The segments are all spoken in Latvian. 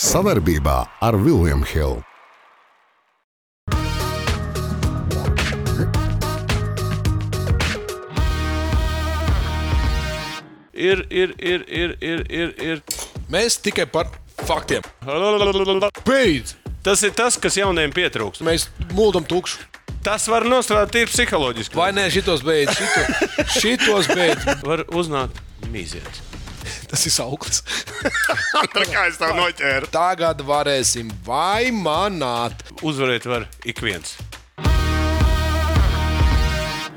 Savarbībā ar Vilniem Hilu. Ir, ir, ir, ir, ir, ir, ir. Mēs tikai par faktiem. Beidz! Tas ir tas, kas jauniem pietrūkst. Mēs mūldam tukšu. Tas var nostrādāt tīri psiholoģiski. Vai nē, šitos beidz, šito, šitos beidz. Var uznākt mīziet. Tas ir sauklis. Tā kā es tev noķēru. Tagad varēsim vai manāt. Uzvarēt var ik viens.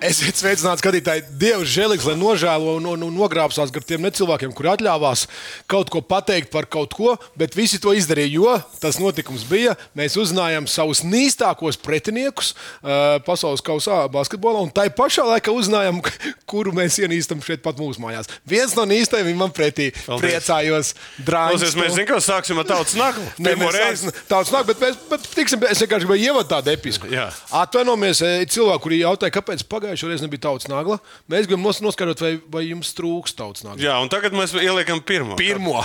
Es esmu sveicināts skatītāji, Dievs, žēlīgs, lai nožēlo un, un, un nogrābsās gar tiem necilvēkiem, kuri atļāvās kaut ko pateikt par kaut ko, bet visi to izdarīja, jo tas notikums bija. Mēs uzzinājām savus nīstākos pretiniekus uh, pasaules kausā basketbolā, un tai pašā laikā uzzinājām, kuru mēs ienīstam šeit pat mūsu mājās. Viens no nīstajiem ir man pretī. Paldies. Priecājos, drāmas. Klausies, mēs zinām, ka sāksim ar tautas nakli. Pirmo reizi. Tāds nāk, bet mēs bet, tiksim, es vienkārši gribēju ievadīt tādu episku. Jā. Atvainojamies e, cilvēku, kuri jautāja, kāpēc pagājušajā reizē nebija tauts nagla. Mēs gribam nos- noskaidrot, vai, vai jums trūks tauts nagla. Jā, un tagad mēs ieliekam pirmo. Pirmo.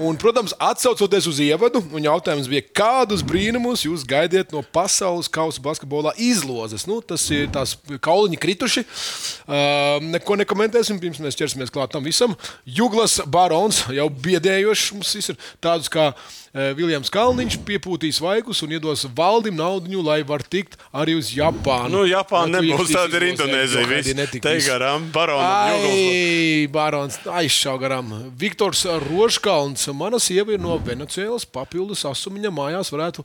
Un, protams, atcaucoties uz ievadu, un jautājums bija, kādus brīnumus jūs gaidiet no pasaules kausa basketbolā izlozes? Nu, tas ir tās kauliņi krituši. Uh, neko nekomentēsim, pirms mēs ķersimies klāt tam visam. Juglas barons jau biedējošs mums viss ir tādus kā uh, Viljams Kalniņš piepūtīs vaikus un iedos valdim naudu, lai var tikt arī uz Japānu. Nu, Japāna Lai tu nebūs iekšīs tāda ir izlozē, jo gaidīja Indonēzija. netika Te viss. garām baronam Jūglas. Ai, Barons, aizšāva garām. Viktors Roškalns, mana sieva ir no Venecijas, papildus asumiņa mājās varētu.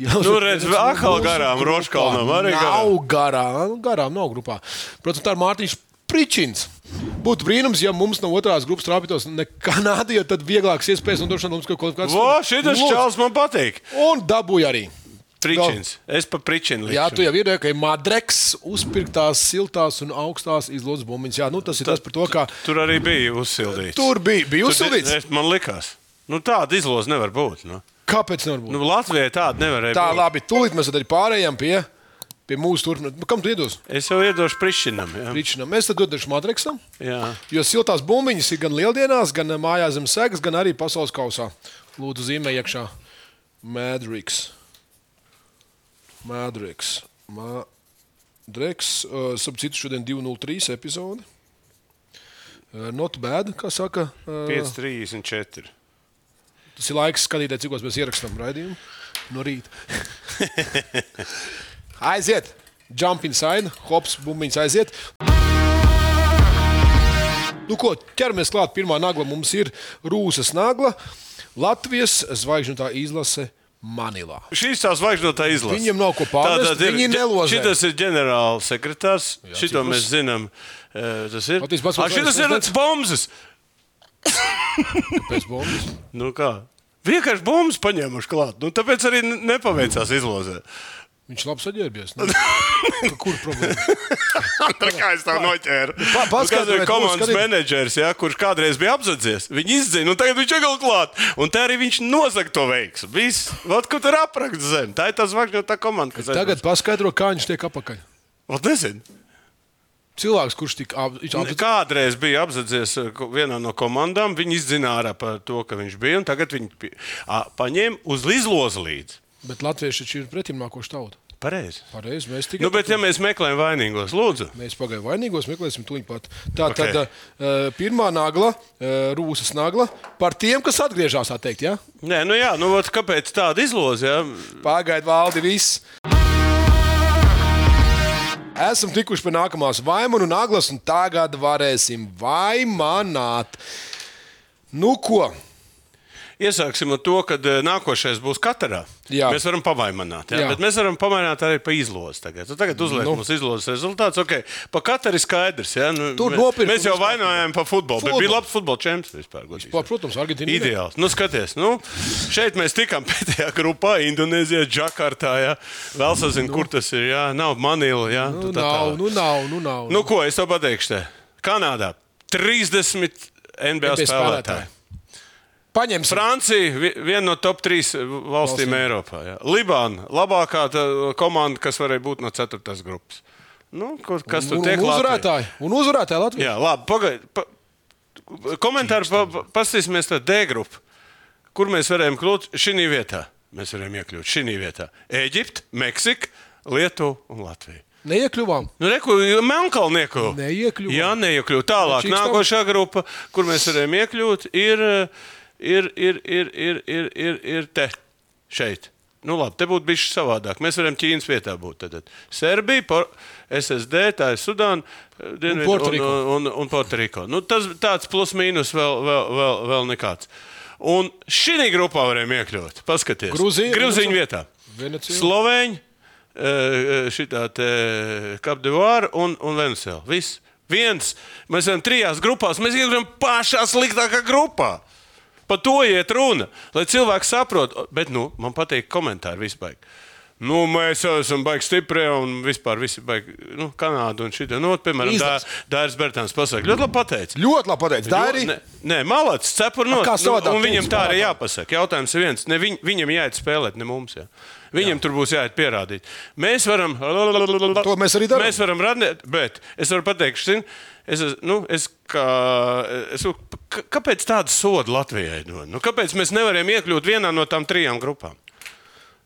Jā, Nu, redz, atkal garām Roškalnam, arī Nav garām, garām nav grupā. Protams, tā ir Mārtiņš Pričins. Būtu brīnums, ja mums no otrās grupas trāpītos ne Kanāda, jo tad vieglākas iespējas un došana mums kaut kaut kāds. Vā, šitas Lūdzu. čels man patīk. Un dabūja arī. Pričins. Es pa pričinu Jā, tu likšu. jau redzēji, ka ir madreks, uzpirktās, siltās un augstās izlozes bumbiņas. Jā, nu tas ir tas par to, kā Tur arī bija uzsildīts. tur bija. Bija Tur uzsilīts. bija- es- Man likās. Nu, tāda izloze nevar būt. Nu. Kāpēc nevar būt? Nu, Latvijai tāda nevarēja tā, būt. labi, tūlīt mēs tad arī pārējām pie, pie mūsu turpinājuma. Kam tu iedos? Es jau iedošu prišinam. Jā. Ričinam. Mēs tad dodamies Madriksam, jā. jo siltās bumbiņas ir gan lieldienās, gan eh, mājās zem segas, gan arī pasaules kausā. Lūdzu, zīmē iekšā Madriks. Madriks. Madriks. eh, Starp citu, šodien 203 epizode. Eh, Not bad, kā saka. eh, 5,34. Tas ir laiks skatīties, cik mēs ierakstām raidījumu no rīta. aiziet! Jump inside, hops, bumbiņš aiziet. Nu, ko ķeramies klāt? Pirmā nagla mums ir Rūsas nagla, Latvijas zvaigžņu tā izlase Manilā. Šīs tās zvaigznotā izlases. Viņiem nav ko pārmest, viņi nelozē. Šis ir ģenerālsekretārs. Šito citus. mēs zinām. Eh, Tas ir. Latvijas pasaules šis ir vēstures- bombas. Pēc bombas. Nu kā? Vienkārši bombas paņēmuši klāt. Nu, tāpēc arī ne- nepaveicās izlozē. Viņš nu? labi saģērbies. ne? Kur problēma? Tā kā es tev noķēru. Pa- Tas Nu, ir paskaidrojiet, komandas lūdzu, skatīt- menedžers, ja, kurš kādreiz bija apzinājies. Viņu izdzina, un tagad viņš ir atkal klāt. Un te arī viņš nozaga to veiksmu. Viss, vat, kur tur aprakts zem. Tā ir tā zvaigznotā komanda, kas Tagad paskaidro, kā viņš tiek apakaļ. aizbrauc. Vat nezinu. Cilvēks, kurš tik ap- viņš Apzic... Nu, apziņā. Kādreiz bija apziņojies vienā no komandām. Viņi izzināja ārā par to, ka viņš bija. un Tagad viņi pi- ā, paņēma uz izlozi līdzi. Bet latvieši taču ir pretim nākošu tautu. Pareizi. Pareizi, mēs tikai. Nu, bet, ja mēs meklējam vainīgos, lūdzu, Mēs pagaidām vainīgos, meklēsim to viņa pat. Tā Ok. okay. tad uh, pirmā nagla, uh, rūsas nagla, par tiem, kas atgriežas, tā teikt, ja? Nē, nu, jā, nu, vat, kāpēc tāda izloze? Jā? Pagaidiet, valdi viss. Esam tikuši pie nākamās vaimana un naglas, un tagad varēsim vaimanāt. Nu, ko? Iesāksim ar to, ka nākošais būs katrā. Jā. Mēs varam pamainīt, Jā. bet mēs varam pamainīt arī pa izlozi. Tagad, Tu tagad uzliek Nu. nu. mums izlozes rezultāts. Okay. Pa katru ir skaidrs. Jā, nu, Tur mē- nopirkt Mēs jau un uzkāpt. vainojām pa futbolu, futbolu. bet Futbolu. bija labs futbola čempions vispār. godīgi Pa, sakot. protams, Argentīna. ir. Ideāls. Nu, skaties, nu, šeit mēs tikām pēdējā grupā, Indonēzijā, Džakartā. Jā. Vēl sazinu, nu. kur tas ir. Jā. Nav Manila. Jā. Nu, Tu tā nav, tālāk. nu, nav, nu, nav. nu, ko es tev pateikšu? Te? Kanādā 30 NBA, NBA Bez spēlētāji. Paņemsim. Francija vi- viena no top 3 valstīm Valstīm. Eiropā. Jā. Libāna labākā tā, komanda, kas varēja būt no 4. grupas. Nu, kur, kas Un- tur un tiek Latvija? uzvarētāji. Un uzvarētāji Latvijā. Jā, labi, pagaidiet. Pa... komentāri pa, pa- paskatīsimies tad D grupu. Kur mēs varējām kļūt šī vietā? Mēs varējām iekļūt šī vietā. Eģipte, Meksika, Lietuva un Latvija. Neiekļuvām. Nu, reku, Melnkalnieku. Neiekļuvu. Jā, neiekļuvu. Tālāk, Šī stāv- nākošā grupa, kur mēs varējām iekļūt, ir, ir, ir, ir, ir, ir, ir, ir te, šeit. Nu, labi, te būtu bijis savādāk. Mēs varam Ķīnas vietā būt. Tad, tad. Serbija, por, SSD, tā ir Sudāna, eh, Dienvidu un, Puertoriko. un, un Puertoriko. Nu, tas tāds plus-mínus vēl, vēl, vēl, vēl nekāds. Un šī grupā varējām iekļūt. Paskaties, Gruzija, Grūziņa Venecu- vietā. Venecija. Slovēņi, eh, šitā te eh, Kapdevāra un, un Venusēla. Viss. Viens. Mēs esam trijās grupās. Mēs iekļuvām pašā sliktākā grupā. Par to iet runa, lai cilvēki saprotu. Bet nu, man patīk komentāri vispār. Nu, mēs jau esam baigi stipri un vispār visi baigi. Nu, Kanāda un šī tā. Nu, piemēram, Dā- Izdevs. Dāris Bērtāns pasaka, ļoti labi pateicis. Ļoti labi pateicis. Tā arī. Nē, nē malāts, cepur no kā savādāk Un viņam teicu, tā arī jā. jāpasaka. Jautājums ir viens. Ne, viņ, viņam jāiet spēlēt, ne mums. Jā. Viņam jā. tur būs jāiet pierādīt. Mēs varam. To mēs arī darām. Mēs varam radīt, bet es varu pateikt, ka es, es- nu, es, kā, es, k- kāpēc tādu sodu Latvijai dod? Nu, kāpēc mēs nevaram iekļūt vienā no tām trijām grupām?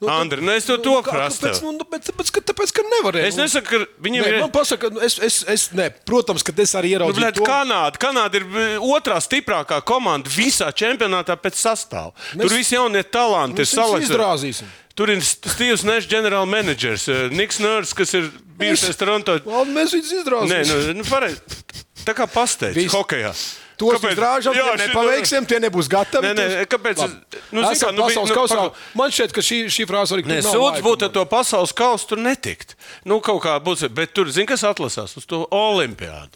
Nu, Andri, nu, es to, to prasu. Tāpēc, tev. nu, tāpēc, tāpēc, ka, tāpēc, ka nevarēju. Es nesaku, ka viņiem Nē, ir. man pasaka, nu, es, es, es, nē, protams, ka es arī Nu, ieraudzīju. bļēt, to. Kanāda, Kanāda ir b- otrā stiprākā komanda visā čempionātā pēc sastāvā. Mēs- Tur visi jaunie talanti ir Mēs viņus salikti. izdrāzīsim. Tur ir St- Steve's Nešs, ģenerālmenedžers, eh, Niks Nērs, kas ir bijušais Toronto. Un mēs viņus Nē, izdrauzīsim. nu, nu pareizi. Tā kā pasteidz Viss. hokejā. Tos Kāpēc? drāžam, Jā, tie šī- nepaveiksim, tie nebūs gatavi. Nē, nē, tos- kāpēc es- Labi. nu, zini kā, Esam nu, bija- pasaules nu, kausā. paka- Man šķiet, ka šī, šī frāze arī Nē, nav sūdz laika, būtu ar man. to pasaules kausu, tur netikt. Nu, kaut kā būs, bet tur, zini, kas atlasās uz to olimpiādu.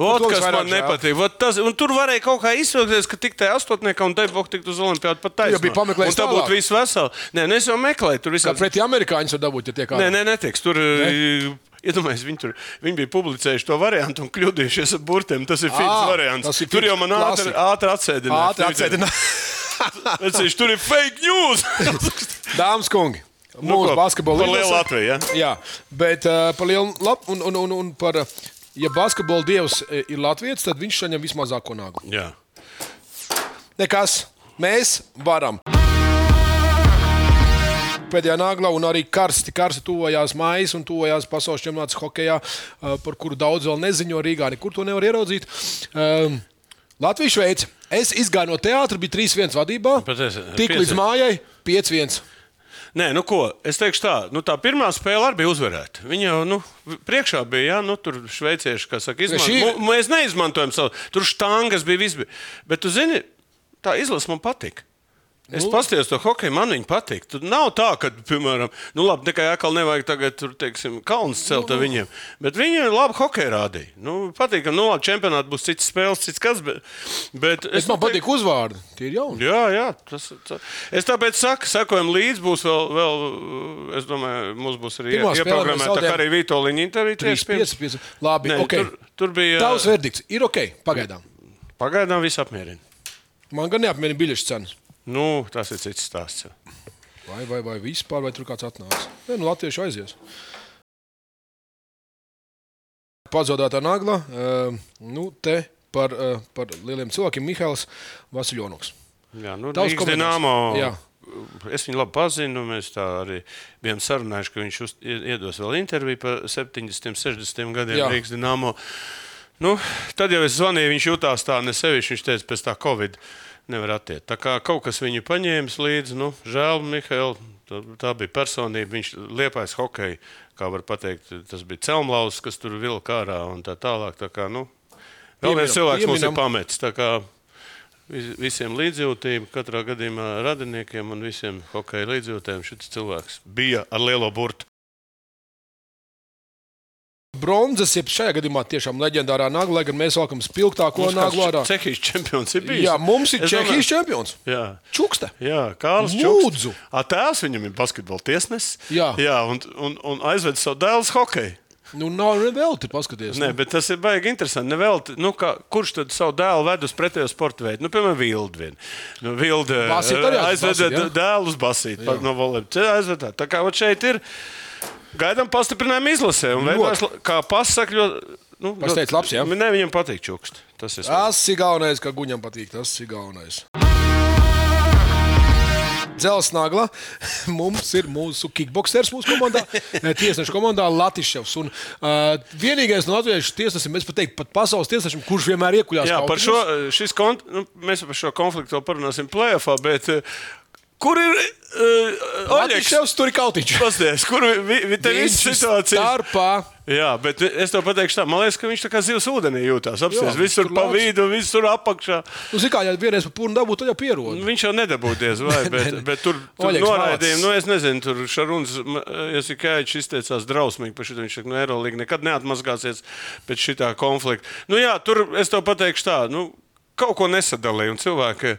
Ot, to kas visvairāk man žēl. nepatīk. Ot, tas, un tur varēja kaut kā izsvilkties, ka tik tajā astotniekā un te būtu tikt uz olimpiādu pat taisnība. jau biji pameklējis tā būtu tālāk. viss vesela. Nē, nu, es jau meklēju, tur Kā visādi. pretī amerikāņus var dabūt, ja tie kā. Nē, nē, netiks. Tur, ne? Iedomājieties, viņi, tur- viņi bija publicējuši to variantu un kļūdījušies ar burtiem. Tas ir fīns Ā, variants. tas ir Tur fīns jau man ātri, klasika. ātri atsēdināja. Ātri atsēdināt. Viņš tur ir fake news. Dāmas kungi, Nu, ko, mūsu basketbola par lielu izlase- Latviju, ja? Jā, bet uh, par lielu labu un, un, un, un par. eh, Ja basketbola dievs eh, ir latviečs, tad viņš saņem vismazāko nāku. Jā. Nekas, mēs varam. Pēdējā nagla un arī karsti, karsti tuvojās maijas un tuvojās pasaules čempionāts hokeja, eh, par kuru daudz vēl neziņo Rīgā. Nekur to nevar ieraudzīt. Um, Latvijas šveice. Es izgāju no teātra, bija 3-1 vadībā. Nu, Bet es- Tik līdz 5:1. mājai 5-1. Nē, nu ko, es teikšu tā, nu tā pirmā spēle arī bija uzvarēta. Viņa jau, nu, vi- priekšā bija, jā, nu, tur šveicieši, kā saka, šī- izmantoja. Mēs neizmantojam savu, tur štangas bija viss. bija. Bet, tu zini, tā izlase man patika. Es nu. paskatījos to hokeju, man viņa patīk. Tur nav tā, ka, piemēram, nu, labi, tikai atkal nevajag tagad, tur, teiksim, kalnus Nu, celt ar viņiem. Bet viņi ir labi hokeju rādīja. Nu, patīk, ka, nu, labi, čempionātā būs cits spēles, cits kas. Bet, bet nu Es man patīk uzvārdi. Tie ir jauni. Jā, jā tas, tas. es tāpēc saku, sekojam līdzi. Būs vēl, vēl es domāju, mums būs arī Pirmā ie- spēlē mēs ieprogrammēta zaudējām. tā kā arī Vitoļiņa intervija. 3, tieši pirms. 5, 5. Labi, Nē, Nē, okay. tur, tur bija Tavs verdikts ir ok, pagaidām. Pagaidām viss apmierina. Man gan neapmierina biļešu cenas. Nu, tas ir cits stāsts. jau. Vai, vai, vai vispār, vai tur kāds atnāks? Nē, nu Latvieši aizies. Pazudāta nagla. eh, Nu, te par, eh, par lieliem cilvēkiem Mihails Vasiljonuks. Jā, nu, Tavs Rīgas komentārs. Dināmo. Jā. Es viņu labi pazinu. Mēs tā arī bijām sarunājuši, ka viņš uz, iedos vēl interviju par 70, 60 gadiem Jā. Rīgas Dienāmo. Nu, tad jau es zvanīju, viņš jutās tā ne sevišķi. Viņš teica, pēc tā Covid nevar attiekt. Tā kā kaut kas viņu paņēmis līdzi, nu, žēl, Mihail. Tā, tā bija personība. Viņš liepais hokeja, kā var teikt, tas bija celmlaus, kas tur vilka ārā un tā tālāk. Tā kā, nu, vēl viens Pieminam, cilvēks mums pieminam. ir pametis. tā kā vis- Visiem līdzjūtību, katrā gadījumā radiniekiem un visiem hokeja līdzjūtēm šis cilvēks bija ar lielo burtu. Bronzas, jeb šajā gadījumā tiešām leģendārā nagla, lai gan mēs sākam spilgtāko Mums kāds naglu ārā. Čehijas čempions ir bijis. Jā, mums ir Es domāju- Čehijas čempions. Jā. Čukste. Jā, Kārlis Lūdzu! Attēls viņam ir basketbola tiesnesis. Jā. Jā un, un, un aizved savu dēlu uz hokeju. Nu, nav ne vēl tur paskaties. Nē, bet tas ir baigi interesanti. Nevelti, nu, kā, kurš tad savu dēlu ved uz pretējo sporta veidu? Nu, piemēram, Vildu. Nu, Vilda Basīt arī eh, aizved aizveda basīt, jā? d- dēlu uz basīti pa- no volejbola. Tā aizved tā. Tā kā vat šeit ir. Gaidām pastiprinājumu izlasē. Un, Ļoti. veidojas, la- kā pasakļo, nu, Pats teica, labs, jā? Nē, viņam patīk čukst. Tas ir svarīgi. Tas ir galvenais, ka guņam patīk. Tas ir galvenais. Dzelzsnagla mums ir mūsu kickboxers, mūsu komandā, eh, tiesneša komandā Latvijas. Un uh, vienīgais no latviešu tiesnešiem, es pat teiktu, pat pasaules tiesnešiem, kurš vienmēr iekļūst Jā, par šo, šis kont, nu, mēs par šo konfliktu vēl parunāsim plēfā, bet eh, kur ir uh, Oļegs? Latvijas tur ir kautiņš. Pasties, kur vi, vi, vi, te viss ir situācija? ir- starpā. Jā, bet es to pateikšu tā, man liekas, ka viņš tā kā zivs ūdenī jūtas. Apsties, Jā, visur tur pa labs. vidu, visur apakšā. Nu, zikā, ja vienreiz pa pūnu dabūtu, tad jau pierod. Viņš jau nedabūties, vai, bet, bet tur, tur Oļegs noraidījumi, malacis. nu es nezinu, tur Šaruns, Jasikājiņš izteicās drausmīgi par šito, viņš saka, no Eirolīga nekad neatmazgāsies pēc šitā konflikta. Nu jā, tur es to pateikšu tā, nu kaut ko nesadalīju un cilvēki.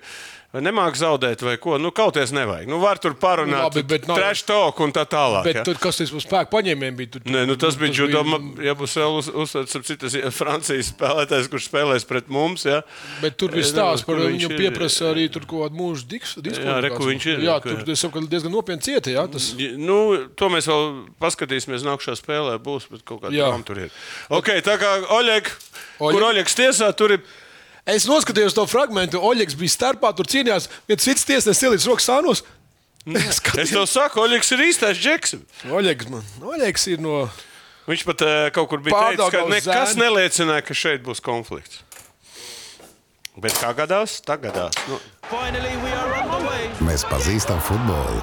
Vai nemāk zaudēt, vai ko? Nu, kaut kādā nevajag. Nu, var tur parunāt, Labi, bet nav- trash talk un tā tālāk. Bet ja? tur, kas tas par spēku paņēmieniem bija? Tur, Nē, nu tas bija Džudoma. Jā, būs vēl uz- uzsvērts, ap cik tas ir Francijas spēlētājs, kurš spēlēs pret mums. Jā, Bet tur bija Es stāsts nezinu, par kur viņš viņu ir. pieprasa arī tur kaut kādu mūžu diskusiju. Jā, re, kur viņš ir, Jā, re, kur ir. tur tas savukārt diezgan nopietni cieta. Jā, tas Nu, to mēs vēl paskatīsimies nākamajā spēlē. Būs bet kaut kāda Jā. tam tur ir. Okay, tā kā Oļeg, Oļeg. kur Oļegs tiesā, tur ir. Es noskatījos to fragment, un Oļegs bija starpā, tur cīnījās. Viens cits tiesnesis ielīdz rokas sānos. Mm. Es Skatījos. tev saku, Oļegs ir īstais džeks. Oļegs, man. Oļegs ir no. Viņš pat uh, kaut kur bija teicis, ka Pārdaugavas nekas zēni. neliecināja, ka šeit būs konflikts. Bet kā gadās, tā gadās. Nu, Finally, we are underway. Mēs pazīstam futbolu.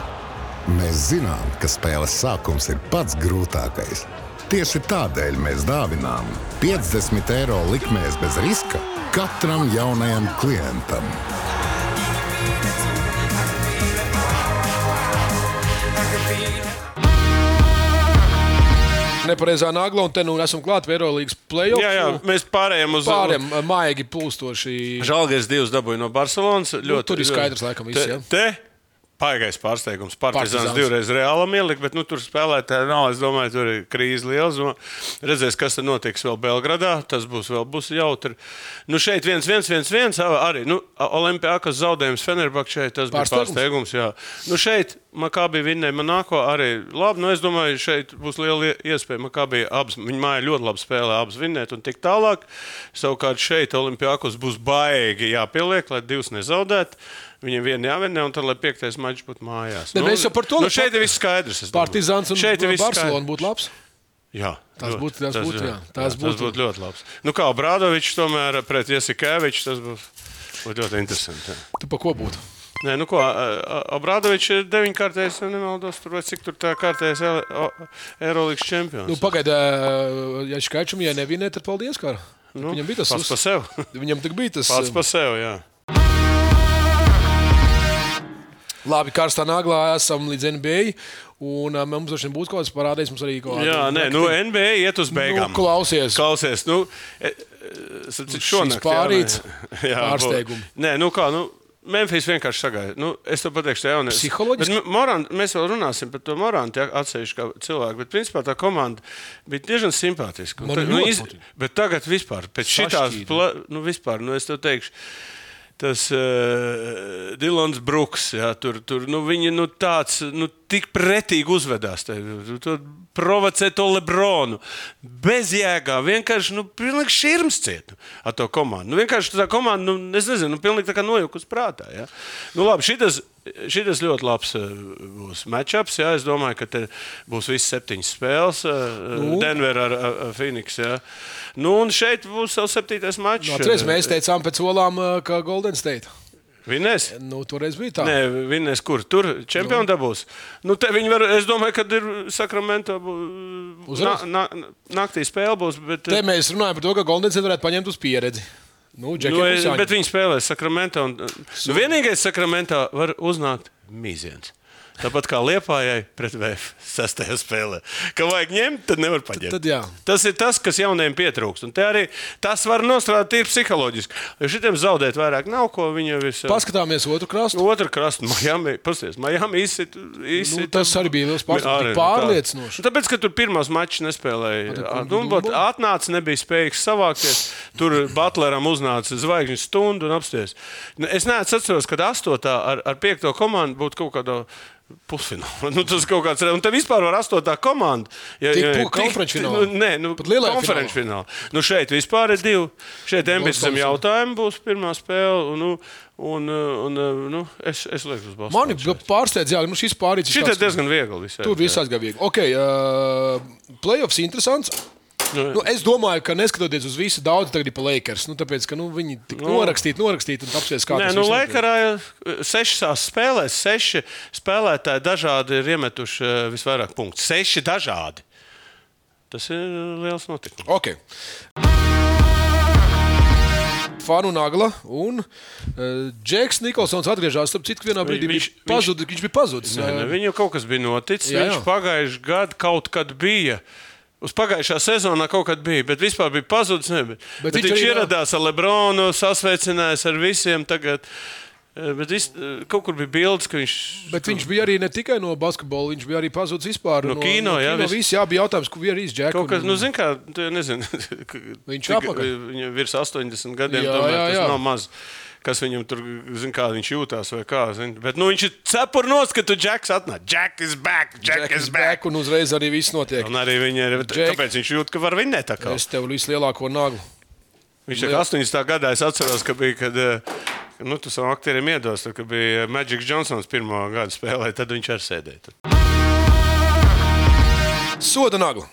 Mēs zinām, ka spēles sākums ir pats grūtākais. Tieši tādēļ mēs dāvinām 50 eiro likmēs bez riska katram jaunajam klientam. Nepareizā nagla, un te nu esam klāt pie Eirolandes playoff. jā, jā, mēs pārējām uz Pāriem maigi plūstoši. Žēlgājis divas dabūja no Barcelonas. Ļoti, Nu, tur ir skaidrs, laikam, viss, te, jā. te Paigais pārsteigums. Partizāns Partizāns. divreiz reālam ielika, bet nu, tur spēlētāji nav. Es domāju, tur ir krīze liela. un Redzēs, kas tur notiks vēl Belgradā. Tas būs vēl būs jautri. Nu, šeit viens, viens, viens, viens arī. Nu, Olimpijākas zaudējums Fenerbakčē, tas bija Pārsteigums. pārsteigums. Jā. Nu, šeit Makābi vinnēja Manāko arī labi. Nu, es domāju, šeit būs liela ie- iespēja. Makābi abas, viņa māja ļoti labi spēlē, abas vinnēt un tik tālāk. Savukārt šeit Olimpijākos būs baigi jāpieliek, lai divas nezaudētu. Viņiem viena jāvinnē, un tad, lai piektais mačs būtu mājās. Ne, mēs jau par to- nu, šeit ir viss skaidrs. es domāju. Partizāns un Šeit ir viss Barcelona skaidrs. būtu labs. Jā, Tas ļoti. būtu- tas būtu, jā. Tas Tas būtu- būtu ļoti labs. Nu, kā Brādovičs tomēr pret Jasikēviču, tas būs, būtu ļoti interesanti. Jā. Tu pa ko būtu? Nē, nu ko, Abrādovičs ir deviņkārtais, ja nemaldos, tur vai cik tur tā kārtais Eirolandes čempions. Nu, Pagaidiet, ja skaitšam, ja nevinē, tad paldies, kā. Nu, viņam bija tas pats par uz- sevi. Viņam tik bija tas. Pats par sevi, jā. Labi, karstā naglā esam līdz NBA. Un ā, mums droši vien būs kaut kas parādījis. Mums arī kaut Jā, nē, nu NBA iet uz beigām. Nu, klausies. Klausies, nu, e, e, sacīt, šonakt. jā, pārīts vai- jā, pārsteigumi. bū- Nē, nu kā, nu, Memphis vienkārši sagaida. Nu, es to pateikšu, tā jaunieci. Psiholoģiski? Morant, mēs vēl runāsim par to Morantu ja, atsevišķi kā cilvēku, bet principā tā komanda bija diezgan simpātiska. Un Man tā- nu, ļoti iz- patīk. Bet tagad vispār, pēc šitās, Sašķīdi. pla- nu, vispār, nu, es to teikšu. Tas uh, Dilons Brooks, jā, tur, tur nu, viņi nu, tāds, nu, tik pretīgi uzvedās. te, tu- tu Provocē to Lebronu. Bez jēgā. Vienkārši, nu, pilnīgi širms ciet ar to komandu. Nu, vienkārši tā komanda, nu, es nezinu, nu, pilnīgi tā kā nojukus prātā. Jā. Nu, labi, šitas, šitas ļoti labs eh, būs matčups. jā. Es domāju, ka te būs viss septiņas spēles. Nu. Denver ar eh, eh, Phoenix. jā. Nu, un šeit būs vēl septītais eh, matčs. Atcerieties, Nu, mēs teicām pēc olām, ā, ka Golden State. Vinēs? Nu, toreiz bija tā. Nē, vienreiz kur tur čempionu dabūs. Nu, te viņi var, es domāju, ka ir Sakramento bū- Uzreiz? na, na, naktī spēle būs. Bet, eh, Te mēs runājam par to, ka Golden State varētu paņemt uz pieredzi. Nu, nu, Džekiem būs jāņem. bet viņi spēlē Sakramento. Un, nu, vienīgais Sakramentā var uznākt mīziens. Tāpat kā Lietuvai pret VF sastajā spēlē. Ka vajag ņemt, tad nevar paņemt. tad jā. Tas ir tas, kas jaunajiem pietrūkst. Un te arī tas var nostrādāt tīri psiholoģiski. Jo šitiem zaudēt vairāk nav ko. Viņi jau ir. Paskatāmies otru krastu. Otra krasta, Miami. Pasties, Miami izsit, izsit, Nu, tas arī bija liels pārsteigums. Tik pārliecinoši. Tā. nu, Tāpēc, ka tur pirmās mačas nespēlēja. Ar to Dunbot Dumbo? atnāca, nebija spējīgs savākties. Tur Butleram uznāca zvaigžņu stundu un apsties. Nu, Es neatceros, kad astotā ar, ar piekto komandu būtu kaut kādā Pusfinālā. Nu, tas kaut kāds ir. Un te vispār var astotā komanda. Ja, Tik ja- pu- konferenču finālā. Nu, nē, nu, Pat lielajā konferenču finālā. Nu, šeit vispār ir divi. Šeit ambicijas Boston's- jautājumi būs pirmā spēle. Un, nu, un, un, un nu, es, es lieku uz Bostonu. Mani šeit. pārsteidz, jā, nu šis pārējais Šī ir diezgan viegli. Visai, Tur viss aizgāja viegli. Okay, uh, playoffs interesants. Nu, es domāju, ka neskatoties uz visu, daudz tagad ir pa Lakers. Nu, tāpēc, ka nu, viņi tik norakstīti, norakstīti un apsies kā Nē, tas nu, viss notiek. Leikarā ir sešās spēlēs, seši spēlētāji dažādi ir iemetuši eh, visvairāk punktu. Seši dažādi. Tas ir eh, liels notikums. Ok. Fanu nagla un uh, Džeks Nikolsons atgriežas. Starp citu, ka vienā brīdī viņš, viņš- viņš, pazud, viņš bija pazudis. eh, Nē, nē, Ā, viņu kaut kas bija noticis. Jā, Jā, jā. jā. Viņš pagājušajā gadā kaut kad bija. Uz pagājušā sezonā kaut kad bija, bet vispār bija pazudis. Ne, bet, Bet bet, viņš bet viņš arī nav- ieradās ar Lebronu, sasveicinājās ar visiem. Tagad, eh, bet vis, eh, kaut kur bija bildes, ka viņš. Bet viņš bija arī ne tikai no basketbola, viņš bija arī pazudis vispār No kino, jā, kino, viss. viss, jā, bija jautājums, kur ir īsti Džeks. Kaut kas, nu, zin kā, tu jau nezini, ka- Viņš cik- apakaļ. Viņam virs 80 gadiem, Jā, jā, tomēr jā, jā, jā. jā. tas nav maz. Kas viņam tur, zin, kā viņš jūtas, vai kā. Zin. Bet nu, viņš ir cepurnos, ka tu džeks atnāc. Jack is back. Jack, is back. un uzreiz arī viss notiek. Un arī viņa ir. Džek. Kāpēc viņš jūt, ka var vinēt? tā kā? Es tev vislielāko naglu. Viņš ir 80. gadā, es atceros, ka bija, kad. eh, Nu, tu savam aktierim iedos, tad, kad bija Magic Johnsons pirmā gada spēlē, tad viņš arī sēdēja. tur. Soda nagla.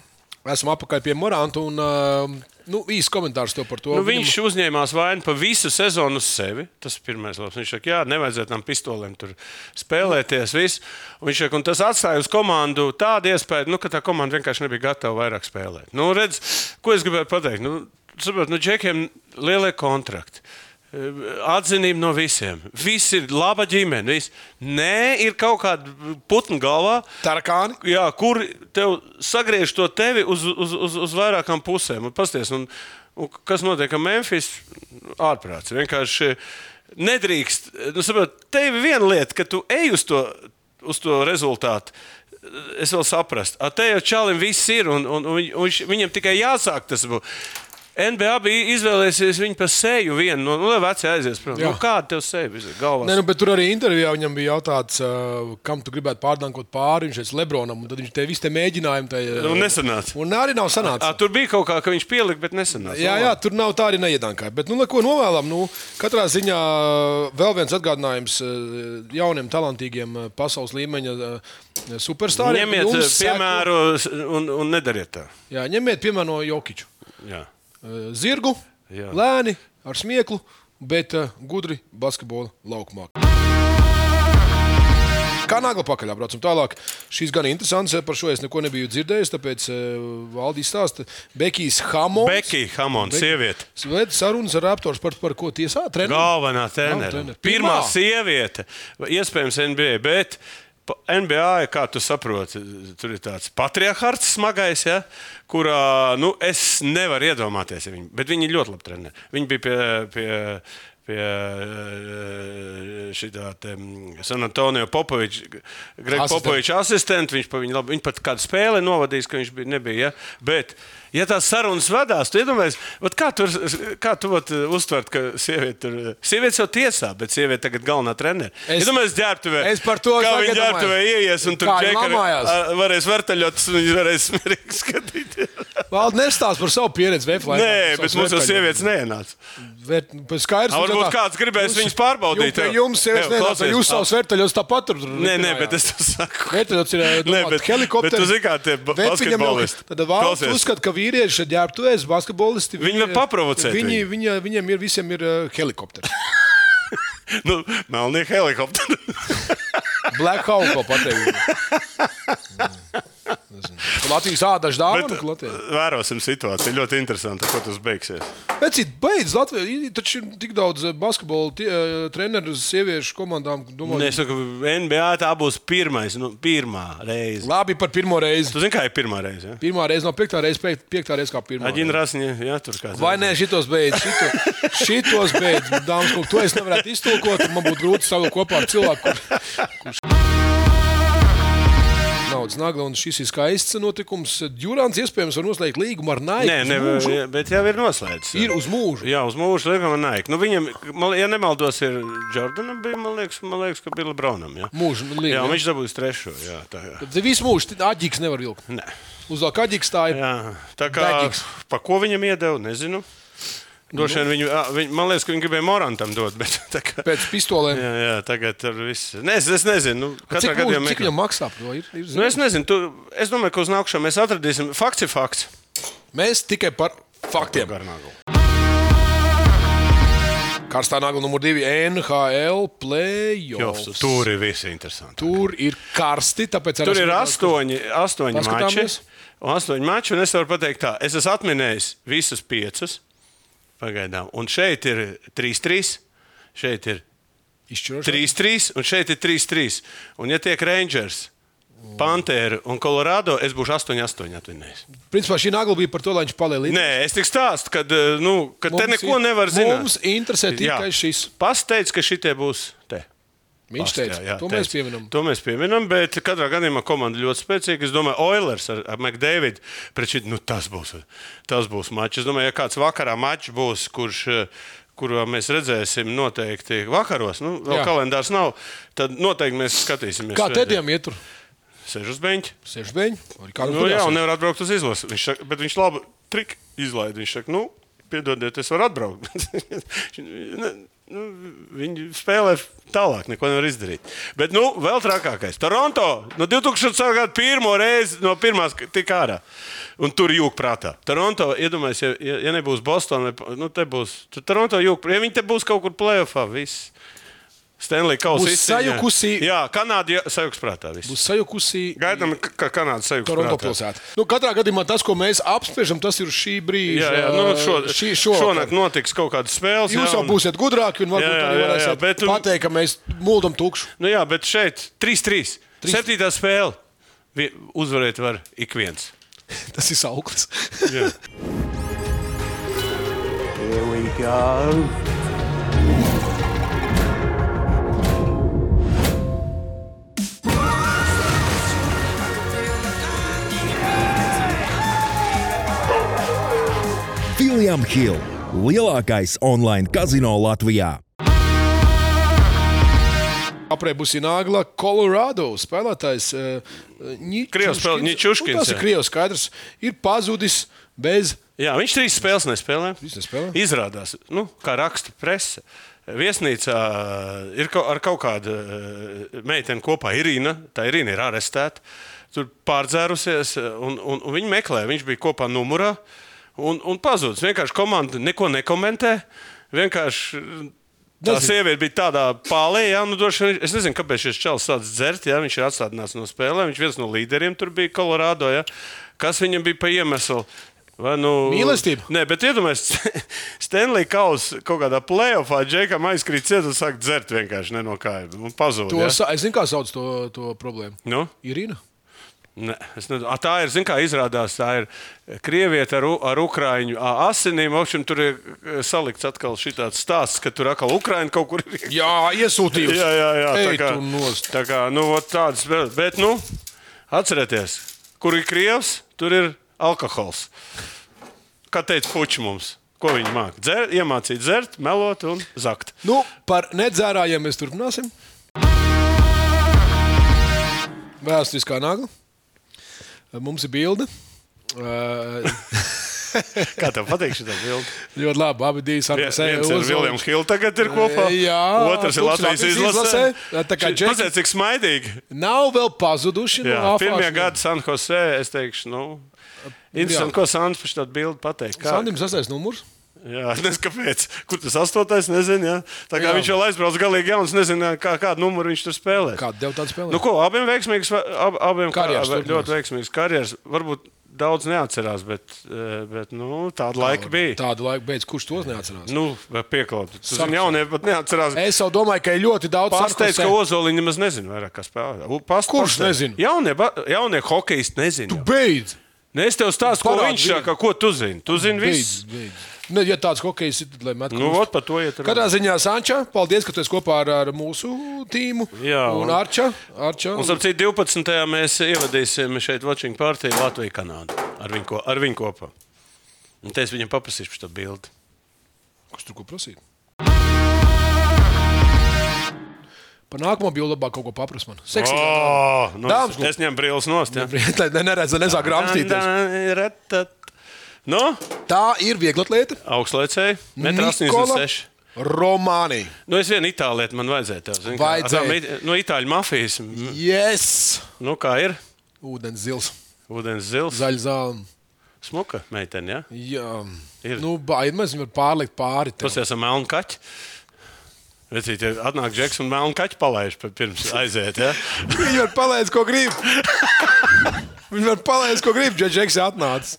Esmu apakaļ pie Moranta. Un, um, nu, īsts komentārs tev par to. Nu, viņš uzņēmās vainu par visu sezonu uz sevi. Tas ir pirmais. Labs. Viņš saka, jā, nevajadzētu tam pistolēm tur spēlēties. Viss. Un Viņš saka, un tas atstāja uz komandu tādu iespēju, nu, ka tā komanda vienkārši nebija gatava vairāk spēlēt. Nu, redz, ko es gribēju pateikt? Nu, Saprotiet, nu, džekiem lielie kontrakti. Atzinība no visiem. Visi ir laba ģimene. Visi. Nē, ir kaut kāda putna galvā, Tarakāni. jā, kur tev sagriež to tevi uz, uz, uz, uz vairākām pusēm. Un Pasties, un, un kas notiek ar Memphis? Ārprāts. Vienkārši nedrīkst. Nu, saprot, tev ir viena lieta, ka tu ej uz to, uz to rezultātu. Es vēl saprotu, ka te jau čalim viss ir, un, un, un, viņ- un viņš- viņam tikai jāsāk tas būt. NBA bija izvēlējusies viņu par seju vienu. Nu, lai veci aizies, protams. Jā. Nu, kāda tev seja vispār? Galvā. Nē, nu, bet tur arī intervijā viņam bija jautāts, uh, kam tu gribētu pārdankot pāri. Viņš teica, Lebronam, un tad viņš te visu te mēģinājumu. Te, uh, Nu, nesanāca. Un arī nav sanācis. Ā, tur bija kaut kā, ka viņš pielika, bet nesanāca. Jā, jā, tur nav tā arī neiedankā. Bet, nu, lai ko novēlam, nu, katrā ziņā uh, vēl viens atgādinājums eh, jauniem, talantīgiem eh, pasaules līmeņa eh, superstariem. Ņemiet Jums eh, seko- piemēru s- un, un nedariet tā. Jā, ņemiet piemēru no Jokiča. Jā. Eh, Zirgu, Jā. jā. lēni, ar smieklu, bet eh, gudri basketbola laukumā. Kā nagla pakaļ, braucam tālāk. Šis gan interesants, eh, par šo es neko nebiju dzirdējis, tāpēc valdīs stāsta Bekijas Hamons. Bekija, Hamons, sieviete. Sveid sarunas ar Raptors par, par ko tiesā trenē. Galvenā treneri. tenere. Pirmā Pirmā. sieviete, iespējams, NBA. Bet pa- NBA, kā tu saproti, tur ir tāds patriarchāts smagais, ja, kurā nu, es nevaru iedomāties. ja Viņu, bet viņi ļoti labi trenē. Viņi bija pie. pie Pie eh, šitā te, mm, San Antonio Popoviča, Grega Asistenta. Popoviča. viņš asistents, viņš, pa viņu labi- viņš pat kādu spēli novadīs, ka viņš bija, nebija. Ja? Bet, ja tās sarunas vadās, tad iedomājieties, kā tu, kā tu vat, eh, uztvert, ka sieviete tur eh, sieviete jau tiesā, bet sieviete tagad galvenā treneris. Es Es- domāju, ģērbtuvē. es par to kā tagad viņa domāju. ģērbtuvē ieies un tur Kā viņa džekar- lamājās. ar- varēs vertaļot, un viņš varēs smierīgi skatīties. Valdi nestāsta par savu pieredzi veiklā. Nē, bet mums jau sievietes neienāca. Skaidrs, Ā, un varbūt tā- kāds gribēs Jūs- viņus pārbaudīt, Jums, jā. jums sievietes Jā, nenāca, klausies. jūs savus vērtaļos tāpat tur. Nē, nē, bet es to saku. Vērtaļos ir Nē, bet- helikopters. bet tu zini, kā tie ba- basketbolisti. Tad valsts Klausies. uzskata, ka vīrieši ģērbtuvēs, basketbolisti. Viņi viņi- var paprovocēt Viņi, viņi, viņiem ir visiem ir eh, helikopters. Nu, Melnie helikopteri. Black Hawk ko pateikt. Mm. Latvijas ādaša dāvana. ko nu, Latvijai? eh, vērosim situāciju. Ļoti interesanti, ko tas beigsies. Bet cik beidz Latvijā, ir taču ir tik daudz eh, basketbola tie- eh, treneru sieviešu komandām. Un Domāju, Nu, es saku, NBA tā būs pirmais, nu, pirmā reize. labi par pirmo reizi. Tu zini, kā ir pirmā reize? Ja? Pirmā reize, no piektā reizes, pie- piektā reize kā pirmā. Aģina Rasņa, jā, tur kāds. Vai nē, šitos beidz. Šito, šitos beidz. Dāmas, kungi, to es nevaru iztulkot. un Man būtu grūti savu kopā ar cilvēku, kurš. kurš... Nav naudas nagla, un šis ir skaists notikums. Džurāns iespējams var noslēgt līgumu ar Nike. Nē, uz ne, mūžu. bet jau ir noslēdzis. Ir uz mūžu. Jā, uz mūžu liekam, Nike. Nu, viņam, man- ja nemaldos, ir Jordanam, bija, man, liekas, man liekas, ka bija Lebronam. Jā, Mūžu, man liekas, jā, jā. viņš dabūs trešo. Jā, tā, jā. Tad Visu mūžu aģiks nevar vilkt. Nē. Uz aģiks tā ir. Jā, tā kā Daģis. pa ko viņam iedeva, nezinu. Droši vien viņu, ā, viņ, man liekas, ka viņi gribēja Morantam dot, bet tā kā. Nu. Pēc pistolēm. Jā, jā, tagad tur viss. Nē, es, es nezinu. nu, Katrā Cik, mūžu, gadījumā cik viņam maksā par to? Ir, ir Nu, es nezinu, tu, es domāju, ka uz nākamo mēs atradīsim. Fakts ir fakts. Mēs tikai par faktiem. Karstā nagla numur divi - NHL playoffs. Jofs, tur ir viss interesanti. Tur ir karsti, tāpēc arī Tur ir skatās, ka- astoņi, astoņi mači. Paskatāmies. Un Astoņi mači, un es varu pateikt, tā, es esmu atminējis visas piecas. Pagaidām. Un šeit ir 3-3, šeit ir Izšķirošais. 3-3, un šeit ir 3-3. Un, ja tiek Rangers, Pantēra un Colorado, es būšu 8-8 atvinējis. Principā šī nagla bija par to, lai viņš paliek līdzi. Nē, es tik stāstu, ka nu, kad te Mums neko ir- nevar zināt. Mums interesē tikai šis. Pasteic, ka šitie būs te. Viņš Past, teica, jā, jā, to mēs teica. pieminam. To mēs pieminam, bet katrā gadījumā komanda ļoti spēcīga. Es domāju, Oilers ar, ar McDavidu pret šit, nu, tas būs, tas būs mačs. Es domāju, ja kāds vakarā mačs būs, kurš. eh, Kurā mēs redzēsim, noteikti vakaros, nu, vēl Jā. kalendārs nav. Tad noteikti mēs skatīsimies. Kā tēdiem iet tur? Sēž uz beņķa. Sešbeņi. Kā Nu, jā, un nevar atbraukt uz izlasi. Viņš saka, bet viņš labu triku izlaiž. Viņš saka, nu, piedodiet, es varu atbraukt. Ne, nu, viņi spēlē tālāk, neko nevar izdarīt. Bet, nu, vēl trakākais. Toronto no 2004. gada pirmo reizi no pirmās tik ārā. Un tur jūg prātā. Toronto, iedomājieties, ja- ja, ja nebūs Bostonā, nu, te būs. Tur Toronto jūg, ja viņi te būs kaut kur plēsoņā, viss. Stanley Kausa Būs izcīņā. sajukusī- Jā, Kanāda sajūgs prātā. Viss. Uz sajukusī Gaidām, ka- ka Kanāda sajūgs Toronto prātā. pilsēta. Nu, katrā gadījumā tas, ko mēs apspriežam, tas ir šī brīža. Jā, jā nu, šo, šī, šo, šo, šonakt notiks kaut kādas spēles. Jūs jā, jau un- būsiet gudrāki un varbūt Jā, jā, arī jā, jā, varēsiet bet, nu- pateikt, ka mēs mūldam tukšu. Nu, jā, bet šeit 3-3. Septītā spēle. Vi- Uzvarēt var ik viens. Tas ir sauklis. Jā. Filiam Hill - lielākais online kazino Latvijā. Aprēķis būs Nāgla, Kolorādo spēlētājs. eh, Krievs Krievs spēlē- Ničuškins, Nu, Tas jā. ir Krievs skaidrs. Ir pazudis bez. jā, viņš trīs spēles nespēlē. Trīs nespēlē? Izrādās, nu, kā raksta presa. Viesnīcā eh, ir kaut, ar kaut kādu eh, meiteni kopā Irīna. Tā Irīna ir arestēta. Tur pārdzērusies, eh, un, un, un viņi meklē. Viņš bija kopā numurā un, un pazudis. Vienkārši komanda neko nekomentē. Vienkārši Tā Nezinu. sieviete bija tādā pālē, jā, nu, droši vien. Es nezinu, kāpēc šis čels sācis dzert, jā, viņš ir atstādināts no spēlēm. Viņš viens no līderiem tur bija Kolorādo, jā. Kas viņam bija pa iemeslu? Vai nu. Mīlestība? Nē, bet iedomājieties, Stanley Kausa kaut kādā playoffā džekam aizkrīt ciet un sāk dzert vienkārši ne no kājām un pazūd. To, jā. sa- es zinu, kā sauc to, to problēmu. Nu? Irina. Ne, es nedomāju. A, tā ir, zin, kā izrādās, tā ir krieviete ar, u- ar ukrāņu ā, asinīm. Opšiem, tur ir eh, salikts atkal šī tāds stāsts, ka tur atkal Ukraina kaut kur ir Jā, iesūtījis. Jā, jā, jā Ej tu nost. tā kā nu, vot tādas, bet, bet nu, atcerieties, kur ir krievs, tur ir alkohols. Kā teica Puķis mums, ko viņi māca? Dzer, iemācīt dzert, melot un zakt. Nu, par nedzērājiem mēs turpināsim. Vēsturiskā nagla. Mums ir bilde. Ā, Kā tev patīk šī bilde? Ļoti labi. Abi divi Vie- sarkas Viens ir Viljams Hilts, tagad ir kopā. Eh, Jā, otrs ir klubs Latvijas Latvijas izlasē. izlasē. Tā kā Nu, Šis- Džeki- Paziet, cik smaidīgi. Nav vēl pazuduši. Jā, no pirmie afāšanas. gadi San Jose, es teikšu, nu. Interesanti, ko Sandrs par šo bildi pateiks. Sandim sastais numurs. Jā, nezinu, kāpēc. Kur tas astotais, nezinu. Jā. Tā kā jā. Jā. viņš vēl aizbrauca galīgi jauns, nezinu, kā, kādu numuru viņš tur spēlē. Kādu devu tādu spēlēt? Nu, ko, abiem veiksmīgs, va- ab, abiem Karjeras kā, turpinās. ļoti veiksmīgs karjeras. Varbūt daudz neatcerās, bet, eh, bet nu, tāda laika bija. Tā. Tādu laiku beidz, kurš tos neatcerās. Nu, pieklaut. Tas Sarkos. viņa jaunie pat neatcerās. Es jau domāju, ka ir ļoti daudz Pārsteigts, ka sarkasē. Ozoliņš nemaz nezina, vairāk, kā spēlē. U- pas- Kurš pasteic. nezina? Jaunie, ba- jaunie hokeisti nezina. Beidz! Ne, es tev stāstu, ko Parādi viņš viņam. saka, ko tu zini. Tu zini visu. Beidz, beidz. Nu, ja tāds hokejs ir, tad lai met Nu, krustu. ot, par to iet runa. Katrā ziņā, Sanča, paldies, ka tu esi kopā ar, ar mūsu tīmu. Jā, un, un- un Arča. Arča. Un, starp citu, 12. mēs ievadīsim šeit Watching Party Latviju, Kanādu. Ar viņu, ko- ar viņu kopā. Un te es viņam paprasīšu šo bildi. Kurš tur ko prasīt? Par nākamo bija labāk kaut ko paprasīt man. Seksīgi. Oh. Oh, nu, Dāmas, es- es ņemu brīvus nost. Ja? Lai ne- neredz, lai nesāk grāmatīties. Ratat. Nu, Tā ir viegla lieta. augstlaicēji. Metra 86. Romānija. Nu, es vienu itālu lietu man vajadzēja. Tev, zini, kā, ar Vajadzēja. tām it- Nu, itāļu mafijas. m, Yes! Nu, kā ir? Ūdens zils, Vodens zils. zaļ zāle. Smuka meitene, ja? Jā, Ir. nu, baidās, viņu var pārlikt pāri. tev. Tas ir melna kaķa. Redziet, ja atnāk džeks un melna kaķa palaiž pa- pirms aiziet. Ja? Viņš var palaist, ko grib. Viņš var palaist, ko grib. Džeks ir atnācis.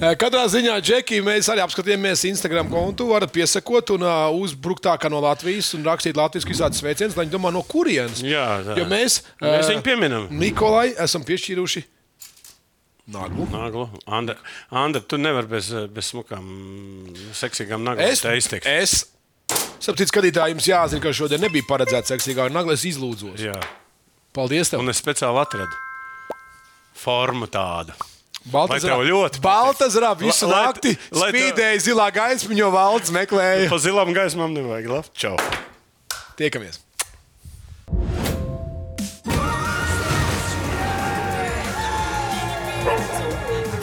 Eh, Katrā ziņā, Džeki, mēs arī apskatījāmies Instagram kontu. varat piesakot un uh, uzbrukt tā kā no Latvijas un rakstīt latviešu izsādes sveicienus, lai viņi domā, no kurienes. Jā, tā. Nu, Jo mēs, Mēs eh, viņu pieminam. Nikolai esam piešķīruši naglu. Naglu. Andra, Andra, tu nevari bez, bez smukām, seksīgām naglām Es izteikt. Es saprotu, skatītāji, jums jāzina, ka šodien nebija paredzēts seksīgāk nagla. Es izlūdzos. Jā. Paldies! Tev. Un es speciāli atradu formu tādu. Baltas Lai tev ļoti pateiks. balta zrāba visu Lai- lai- naktī. lai tev- Spīdēja zilā gaismiņa, jo valds meklēja. Pa zilām gaismām nevajag labi. Čau! Tiekamies!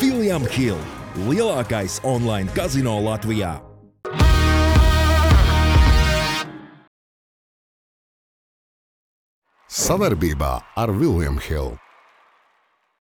William Hill, lielākais online kazino Latvijā. Savarbībā ar Vilnius Hildu.